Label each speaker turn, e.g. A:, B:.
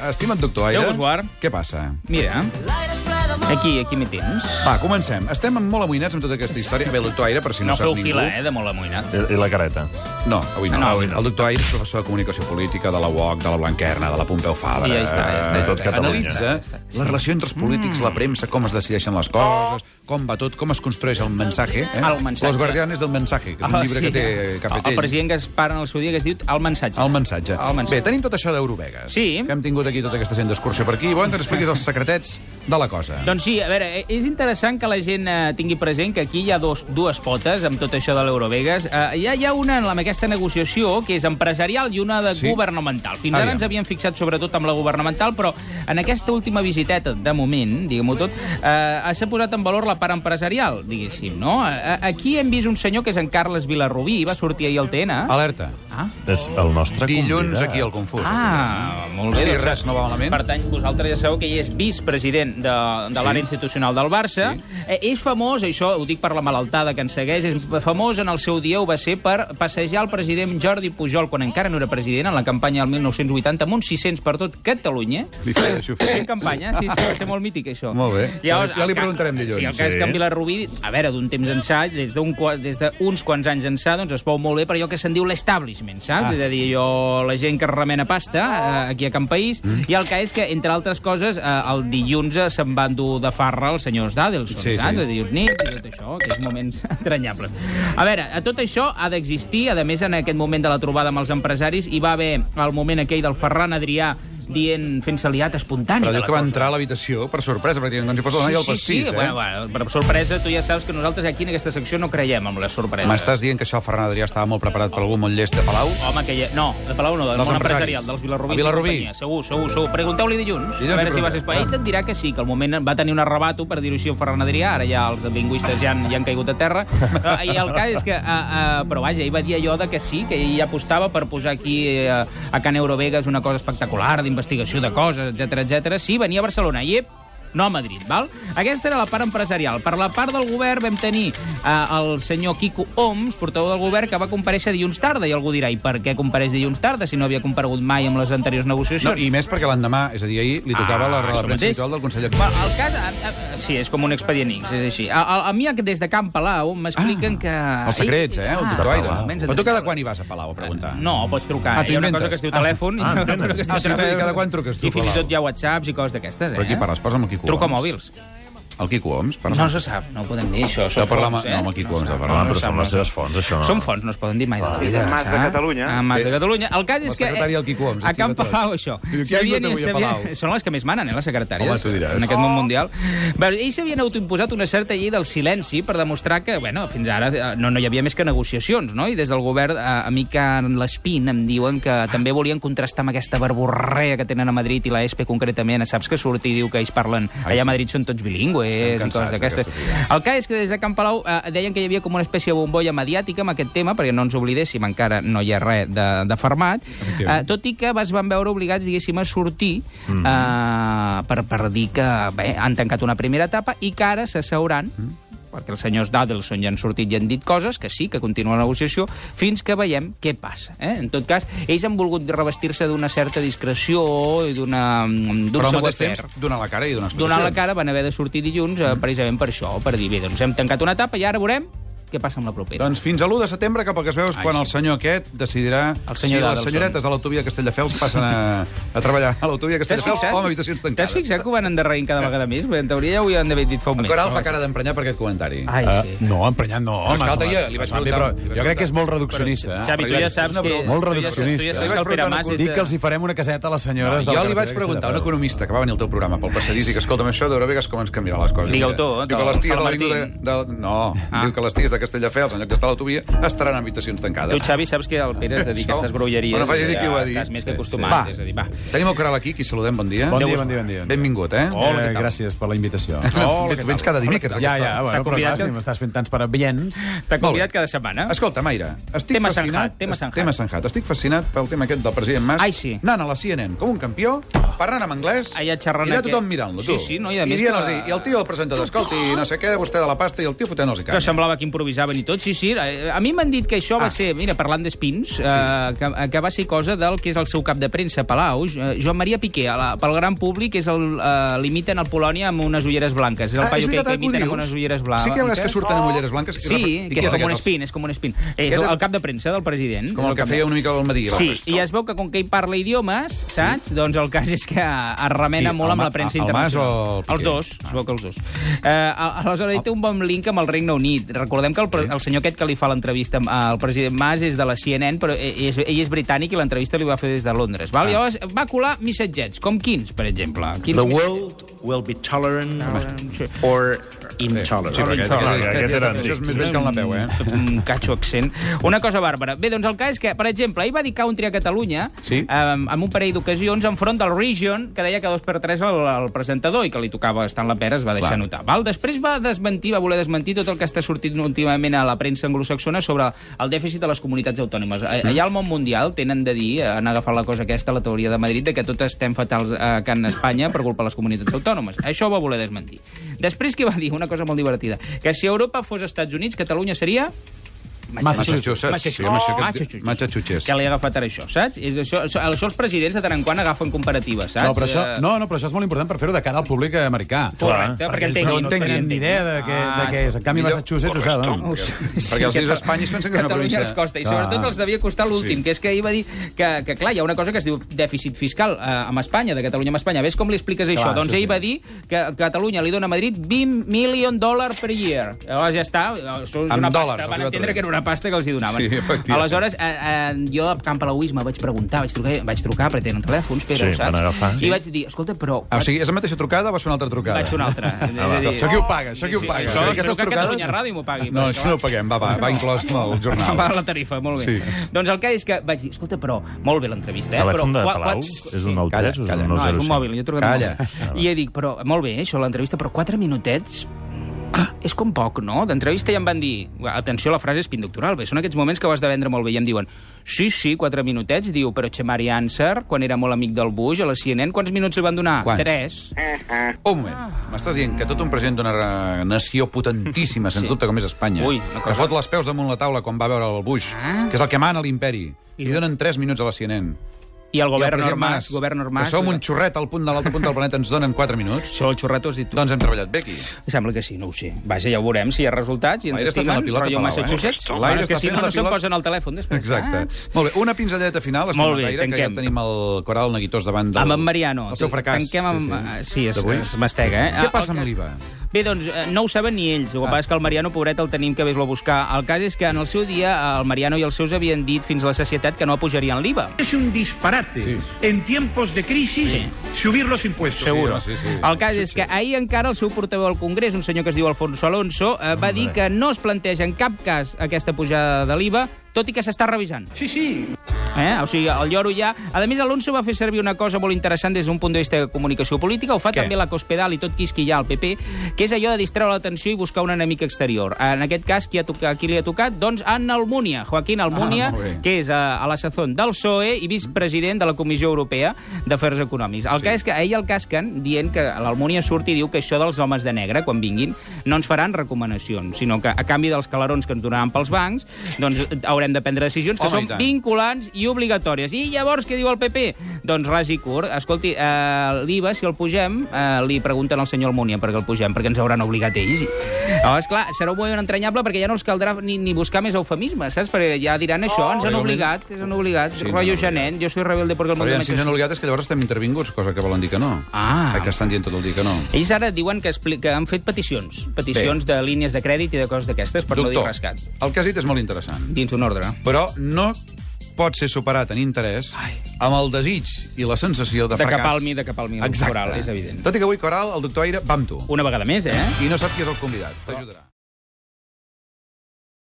A: Estima't doctor Aire.
B: Déu vos guard.
A: Què passa?
B: Mira, aquí, aquí m'hi tens.
A: Va, comencem. Estem molt amoïnats amb tota aquesta història. Bé, el doctor Aire, per si no,
B: No
A: sap
B: feu
A: ningú...
B: fila, eh, de molt amoïnat.
C: I, I la careta.
A: No, avui no.
B: No, avui no.
A: El doctor Aire és professor de comunicació política de la UOC, de la Blanquerna, de la Pompeu Fabra. Eh,
B: I ja està, ja està,
C: ja tot està. Catalunya.
A: Analitza la relació entre els polítics, la premsa, com es decideixen les coses, com va tot, com es construeix el mensaje. Eh?
B: El mensaje.
A: Los guardianes del mensaje, que és un
B: Ah,
A: llibre
B: sí.
A: que té que ha fet
B: El- El
A: ell.
B: president Gaspar en el seu dia que es diu El mensatge.
A: El mensatge.
B: El mensatge.
A: Bé, tenim tot això d'Eurovegas.
B: Sí.
A: Que hem tingut aquí tota aquesta gent d'excursió per aquí. Volem que ens expliquis els secretets de la cosa.
B: Doncs sí, a veure, eh, és interessant que la gent eh, tingui present que aquí hi ha dos, dues potes amb tot això de l'Eurovegas. Eh, hi, ha, hi ha una en la- amb aquesta negociació que és empresarial i una de
A: Sí.
B: sí. governamental. Fins
A: Aviam.
B: ara ens havíem fixat sobretot amb la governamental, però en aquesta última visiteta, de moment, diguem-ho tot, eh, s'ha posat en valor la part empresarial, diguéssim, no? Eh, Aquí hem vist un senyor que és en Carles Vilarrubí, va sortir ahir al TN.
A: Alerta.
B: Ah,
C: És el nostre
A: Dilluns
C: convidat.
A: aquí al Confús.
B: Ah, molt bé.
A: Sí, res, no va malament.
B: Per tant, vosaltres ja sabeu que ell és vicepresident de, de l'àrea institucional del Barça.
A: Sí.
B: Eh, és famós, això ho dic per la malaltada que ens segueix, és famós en el seu dia, ho va ser per passejar el president Jordi Pujol quan encara no era president, en la campanya del 1980, amb uns 600 per tot Catalunya.
A: Li feia xofer.
B: Fent campanya, sí, sí, va ser molt mític, això.
A: Molt bé. Ja li
B: el ca-
A: preguntarem dilluns.
B: Sí, el cas
C: Sí.
B: sí. que en Vilarrubí, a veure, d'un temps ençà, des d'un qua- des d'uns quants anys ençà, doncs es veu molt bé per allò que se'n diu l'establishment, saps?
A: Ah.
B: Ah. És a dir, jo, la gent que remena pasta eh, aquí a Can País, mm. i el que és que, entre altres coses, eh, el dilluns eh, se'n van dur de farra els senyors d'Adelson,
A: Sí, sí.
B: sí, saps? Sí. Dilluns nit i tot això, que és moments entranyables. A veure, a tot això ha d'existir, a més, en aquest moment de la trobada amb els empresaris, hi va haver el moment aquell del Ferran Adrià dient, fent-se liat espontani
A: Però diu
B: de la
A: que va
B: cosa.
A: entrar a l'habitació per sorpresa, pràcticament, com si fos la noia del
B: sí,
A: pastís, eh?
B: sí. Bueno, bueno, per sorpresa, tu ja saps que nosaltres aquí en aquesta secció no creiem amb les sorpreses.
A: M'estàs dient que això el Ferran Adrià estava molt preparat per algú molt llest de Palau?
B: Home, que ja... No, de Palau no, del
A: Dels
B: món
A: empresaris.
B: empresarial, dels Vilarrubí.
A: A Vilarrubí.
B: Segur, segur, segur. Pregunteu-li dilluns,
A: Dilluns hi
B: a veure si va
A: preguntem.
B: ser espai. Ell et dirà que sí, que al moment va tenir un arrebato, per dir-ho així, en Ferran Adrià, ara ja els lingüistes ja han, ja han caigut a terra. Eh, I el cas és que... Uh, uh, però vaja, ell va dir allò de que sí, que ell apostava per posar aquí uh, a Can Eurovegas una cosa espectacular, d'investigació de coses, etc etc. Sí, venia a Barcelona. I ep, no a Madrid, val? Aquesta era la part empresarial. Per la part del govern vam tenir eh, el senyor Quico Oms, portaveu del govern, que va compareixer dilluns tarda, i algú dirà, i per què compareix dilluns tarda si no havia comparegut mai amb les anteriors
A: No,
B: negociacions?
A: I més perquè l'endemà, és a dir, ahir, li tocava la roda
B: Ah, això
A: de premsa
B: mateix.
A: habitual del Consell
B: Va,
A: Actor.
B: el cas... A, a, a- sí, és com un expedient X, és així. A, a, a mi, des de Camp Palau, m'expliquen que...
A: Ah.
B: Ah.
A: Els secrets, eh? El doctor Aire.
B: menys de
A: Però tu
B: tres
A: cada
B: hores.
A: quan hi vas a Palau a preguntar?
B: No, pots trucar.
A: Ah,
B: Hi ha una
A: t'inventes.
B: cosa que es diu
A: Ah,
B: telèfon i
C: ah,
B: una
C: entenem.
B: cosa que es diu
A: Ah, sí,
B: telèfon.
A: cada quan truques tu,
B: I fins i
A: Palau?
B: tot hi ha whatsapps i coses d'aquestes, eh?
A: Però aquí parles, parles amb el Quico
B: Truca
A: Oms.
B: mòbils.
A: El Quico Oms, parla.
B: No se sap, no ho podem dir això.
A: De
B: Són
A: parlar amb,
B: fonts, eh?
A: no, amb el Quico Oms, de
C: Home,
A: parlar.
B: no
C: però
B: sap,
C: són
B: no
C: les
B: sap.
C: seves fonts, això.
B: Són fonts, no es poden dir mai
A: Ah,
B: de la vida.
D: Mas de
B: saps?
D: Catalunya.
B: Ah, Mas de
A: Sí.
B: Catalunya. El cas
A: La
B: és que... eh,
A: secretària del Quico Oms,
B: A
A: així
B: Can
A: de tot.
B: Palau, això.
A: Diu, "Qui ha
B: Sabien
A: vingut
B: i
A: avui a
B: sabien-
A: Palau?"
B: Són les que més manen, eh, les secretàries.
A: Home, tu diràs.
B: En aquest món mundial. Veure, ells s'havien autoimposat una certa llei del silenci per demostrar que, bueno, fins ara eh, no, no hi havia més que negociacions, no? I des del govern, eh, a mi que en l'Espín em diuen que també volien contrastar amb aquesta verborrea que tenen a Madrid i la ESPE concretament. Saps que surt i diu que ells parlen...
A: Ai,
B: Allà
A: sí.
B: a Madrid són tots bilingües
A: Estem
B: i coses
A: cansats
B: d'aquestes.
A: d'aquesta vida.
B: El cas és que des de Can Palau eh, deien que hi havia com una espècie de bombolla mediàtica amb aquest tema, perquè no ens oblidéssim, encara no hi ha res de, de fermat, eh,
A: Efectivament. Mm.
B: tot i que es van veure obligats, diguéssim, a sortir eh, per, per dir que bé, han tancat una primera etapa i que ara s'asseuran
A: Mm.
B: perquè els senyors d'Adelson ja han sortit i han dit coses, que sí, que continua la negociació, fins que veiem què passa. Eh? En tot cas, ells han volgut revestir-se d'una certa discreció i d'una... mm, d'un
A: Però al mateix
B: savoir-faire.
A: temps, donar la cara i donar explicacions.
B: Donar la cara van haver de sortir dilluns eh, precisament per això, per dir, bé, doncs hem tancat una etapa i ara veurem què passa amb la propera.
A: Doncs fins a l'1 de setembre, cap al que es veu, és
B: Ai,
A: quan
B: sí.
A: el senyor aquest decidirà
B: El senyor
A: si les
B: d'Adelson.
A: senyoretes de l'autovia de Castelldefels passen a, a treballar a l'autovia de
B: T'has
A: Castelldefels
B: fixat?
A: o amb habitacions tancades. Eh.
B: T'has fixat que ho van endarrerint cada vegada més? Bé, En teoria ja ho havien d'haver dit fa un mes.
A: Encara el
B: no?
A: fa cara d'emprenyar per aquest comentari.
C: Eh,
B: Ai,
E: Ah,
B: sí.
E: no, emprenyat no, home.
A: és que l'altre
E: home,
A: dia li vaig
E: home,
A: preguntar-
E: però
A: li vaig
E: Jo crec que és
A: preguntar.
E: molt reduccionista. eh?
B: Xavi, tu ja
A: És
B: saps
A: una
B: que...
A: broma.
B: tu
E: Molt
B: ja saps- Tu
E: reduccionista.
B: ja
A: Li
B: saps
A: vaig
B: que el Pere
A: preguntar
B: Mas...
A: a un
B: és de-
E: Dic que els hi farem una caseta a les senyores del
A: Ah, Jo li
E: carrer
A: vaig
E: de
A: preguntar a un
E: Castelldefels.
A: economista que va venir al teu programa pel passadís i que escolta'm això d'Eurovegas com ens canviarà les coses.
B: Digue-ho
A: Mira,
B: tu, eh,
A: Diu que
B: del
A: les ties de
B: Sant
A: l'avinguda...
B: Martín.
A: De... No,
B: Ah.
A: diu que les ties de Castelldefels, en lloc d'estar a l'autovia, estaran en habitacions tancades.
B: Tu, Xavi, saps que el Pere es dedica a
A: Això-
B: aquestes grolleries.
A: Però no facis
B: i
A: dir
B: ja
A: qui ho va dir.
B: Estàs més que
A: Sí, sí.
B: acostumat.
A: Va.
B: És a dir, va.
A: Tenim el Coral aquí, qui saludem, bon dia.
E: Bon dia, bon dia, bon dia.
A: Benvingut, eh?
B: Hola, què
E: eh,
B: tal?
E: gràcies per la invitació.
A: Oh, tu vens cada dimecres.
E: Ja,
A: aquesta
E: ja,
A: hora.
E: bueno, però
B: convidat eh?
E: clar,
B: que-
E: si m'estàs fent tants parabiens...
A: Molt bé.
B: Està convidat cada setmana.
A: Escolta, Maire, estic
B: Tema
A: fascinat...
B: Sanjat, tema Sanjat.
A: Tema Sanjat. Estic fascinat pel tema aquest del president Mas.
B: Ai, sí.
A: Anant a la CNN com un campió, parlant en anglès...
B: Allà xerrant
A: I allà
B: aquest.
A: tothom mirant-lo,
B: Sí,
A: tu.
B: sí, no, i a més
A: dient-los,
B: que-
A: I el tio, el presentador, escolti, no sé què, vostè de la pasta, i el tio fotent-los i
B: Que
A: canya.
B: semblava que improvisaven i tot. Sí, sí, eh, a mi m'han dit que això ah. va ser, mira, parlant d'espins, sí. eh, que, que va ser cosa del que és el seu cap de premsa, Palau, eh, Joan Maria Piqué, a la, pel gran públic, és el, eh, l'imiten al Polònia amb unes ulleres blanques.
A: Ah,
B: És el paio que, que
A: ho
B: imiten
A: dius.
B: amb unes ulleres blanques.
A: Sí que hi ha vegades que surten amb ulleres blanques.
B: Sí,
A: I
B: que
A: què
B: és com un
A: aquest?
B: espin, és com un espin. És
A: Aquest
B: el,
A: és-
B: el cap de premsa del president.
A: Com el que feia una mica al matí.
B: Sí, i es veu que com que ell parla idiomes, saps? Doncs el cas és que es remena
A: Qui,
B: molt
A: el
B: amb
A: Ma-
B: la premsa
A: el Mas o
B: internacional.
A: el Piqué?
B: els dos, es veu que els dos. Eh, a- aleshores, ell té un bon link amb el Regne Unit. Recordem que el, pre- el senyor aquest que li fa l'entrevista amb- al president Mas és de la CNN, però ell és, ell és britànic i l'entrevista li va fer des de Londres.
A: Ah.
B: Val? Llavors va colar missatgets, com quins, per exemple. Quins
C: The world will be tolerant or intolerant.
A: Sí, però aquest, aquest,
D: Aquest
A: aquest,
D: era
A: aquest, això és
D: antic.
A: més vell que el Napeu, eh?
B: un catxo accent. Una cosa bàrbara. Bé, doncs el cas és que, per exemple, ahir va dir country a Catalunya
A: Sí.
B: eh, amb un parell d'ocasions enfront del Region, que deia que dos per tres el, el presentador i que li tocava estar en la pera, es va deixar
A: Clar.
B: notar. Val? Després va desmentir, va voler desmentir tot el que està sortint últimament a la premsa anglosaxona sobre el dèficit de les comunitats autònomes. A- Allà al món mundial tenen de dir, eh, han agafat la cosa aquesta, la teoria de Madrid, de que tots estem fatals a Can Espanya per culpa de les comunitats autònomes. Això ho va voler desmentir. Després què va dir? Una cosa molt divertida. Que si Europa fos Estats Units, Catalunya seria...
A: Massachusetts. Sí, amb això que-
B: Massachusetts.
A: Massachusetts.
B: Que li ha agafat ara això, saps? És això, això, això els presidents de tant en quant agafen comparatives, saps?
E: No, però això,
B: Eh,
E: no, no, però això és molt important per fer-ho de cara al públic americà.
B: Correcte,
D: Clar,
B: perquè
E: Ells
B: entenguin.
E: no tenen ni idea de què, de
B: Ah,
E: què és. En canvi,
A: millor-
E: Massachusetts ho saben.
A: Correcte. Perquè els dius a Espanya es pensen que és una
B: Catalunya
A: província.
B: els costa, i
E: Clar.
B: sobretot els devia costar l'últim,
A: Ah. Sí.
B: que és que ahir va dir que, que, clar, hi ha una cosa que es diu dèficit fiscal eh, amb Espanya, de Catalunya amb Espanya. Ves com li expliques això? Doncs
E: això
B: ell
E: sí.
B: va dir que Catalunya li dona a Madrid 20 milion dòlars per year. Llavors ja està, això és
A: En
B: una
A: dòlars,
B: pasta.
A: els hi
B: Van
A: va
B: entendre
A: traduir.
B: que era una pasta que els hi donaven.
A: Sí, efectivament.
B: Aleshores, eh, eh, jo a Camp Palauisme vaig preguntar, vaig trucar, vaig trucar perquè tenen telèfons, Pere,
D: Sí,
B: ho saps?
D: van agafar.
B: I vaig dir, escolta, però...
A: Ah, o sigui, és la mateixa trucada o vas fer una altra trucada?
B: Vaig fer una altra. És
A: Ah,
B: a dir-
E: Això qui ho paga? Això qui ho
B: Sí,
E: paga?
B: Això,
A: Aquestes
B: espero que
A: trucades-
B: Catalunya Ràdio m'ho pagui.
A: eh? No,
B: perquè,
A: això no ho paguem, va, va, va inclòs en el jornal.
B: Va, la tarifa, molt bé. Sí.
A: Sí.
B: Doncs el que és que vaig dir, escolta, però, molt bé l'entrevista, eh?
D: Telèfon de
B: però, qua-
D: Palau?
B: quats-
D: És un 9
A: Calla,
D: 3 o és
A: calla.
D: un
B: No,
D: 9
B: és un mòbil, jo he trucat
A: Calla.
B: un mòbil. I ja dic, però, molt bé, això, l'entrevista, però quatre minutets... mm, És com poc, no? D'entrevista ja em van dir... Atenció, la frase és pinductural, bé, són aquests moments que ho has de vendre molt bé. I em diuen, sí, sí, quatre minutets, diu, però Chemari Ansar, quan era molt amic del Bush, a la CNN, quants minuts li van donar?
A: Quants?
B: Tres.
A: Un moment. M'estàs dient que tot un president d'una eh, nació potentíssima, sens
B: Sí.
A: dubte, com és Espanya,
B: Ui, una cosa. Ah.
A: que fot les peus damunt la taula quan va veure el Bush, que és el que mana l'imperi, li donen 3 minuts a la CNN.
B: I el govern
A: president
B: Mas, govern Mas...
A: que som un xurret al punt de l'altre punt del planeta, ens donen 4 minuts.
B: Això el xorrato has dit tu.
A: Doncs hem treballat bé aquí.
B: Sembla que sí, no ho sé. Vaja, ja ho veurem, si hi ha resultats i ens
A: L'aire està fent
B: estimen,
A: la pilota,
B: rotllo
A: Palau, eh?
B: Massachusetts.
A: L'aire
B: Bueno, és que
A: està
B: si
A: fent
B: no,
A: la
B: no se'n
A: pilota.
B: posen al telèfon després.
A: Exacte.
B: Ah,
A: Molt bé, una pinzelleta final, estimat
B: Molt bé,
A: Aire, que ja
B: tanquem.
A: tenim el coral neguitós davant del...
B: Amb en Mariano.
A: El seu fracàs.
B: Tanquem amb... Sí, sí. sí es,
A: D'avui.
B: es mastega, eh? Ah,
A: Què passa
B: el
A: amb
B: que-
A: l'IVA?
B: Bé, doncs eh, no ho saben ni ells. El que passa és que el Mariano, pobret, el tenim que vés-lo a buscar. El cas és que en el seu dia el Mariano i els seus havien dit fins a la societat que no apujarien l'IVA.
F: Es un disparate en tiempos de crisis subir los impuestos.
A: Seguro. Sí, sí, sí.
B: El cas és que ahir encara el seu portaveu al Congrés, un senyor que es diu Alfonso Alonso, eh, va dir que no es planteja en cap cas aquesta pujada de l'IVA, tot i que s'està revisant.
F: Sí, sí.
B: Eh? O sigui, el lloro ja... A més, Alonso va fer servir una cosa molt interessant des d'un punt de vista de comunicació política, ho fa
A: Què?
B: també la Cospedal i tot qui esquilla al PP, que és allò de distreure l'atenció i buscar un enemic exterior. En aquest cas, qui, ha tocat, qui li ha tocat? Doncs Anna Almunia, Joaquín Almunia,
A: Ah, molt bé.
B: que és eh, a, a la sazón del PSOE E i vicepresident de la Comissió Europea d'Afers Econòmics. El sí. cas és que ahir el casquen dient que l'Almunia surt i diu que això dels homes de negre, quan vinguin, no ens faran recomanacions, sinó que a canvi dels calarons que ens donaran pels bancs, doncs haurem de prendre decisions que
A: Home, i
B: són
A: tant.
B: vinculants i obligatòries. I llavors què diu el PP? Doncs ras i curt. Escolti, eh, l'IVA, si el pugem, eh, li pregunten al senyor Almunia perquè el pugem, perquè ens hauran obligat ells. Llavors, clar, serà un moment entranyable perquè ja no els caldrà ni, ni buscar més eufemismes, saps? Perquè ja diran això, ens han
A: Realment.
B: obligat, ens han obligat.
A: Oh. Sí,
B: Sí,
A: ens
B: Rollo
A: han obligat.
B: Janet, jo soy rebelde porque el
A: Però
B: mundo
A: aviam, si
B: me
A: ens han
B: hace-
A: obligat és que llavors estem intervinguts, cosa que volen dir que no.
B: Ah.
A: Que estan dient tot el dia que no.
B: ells ara diuen que, expli- que han fet peticions, peticions de línies de crèdit i de coses d'aquestes per no dir rescat,
A: el que has dit és molt interessant,
B: dins d'un ordre.
A: però no pot ser superat en interès
B: Ai.
A: amb el desig i la sensació de,
B: De que
A: fracàs.
B: palmi, de que palmi el
A: Exacte.
B: Coral, és evident.
A: Tot i que avui, Coral, el doctor Aire va amb tu.
B: Una vegada més, eh?
A: I no sap qui és el convidat. T'ajudarà.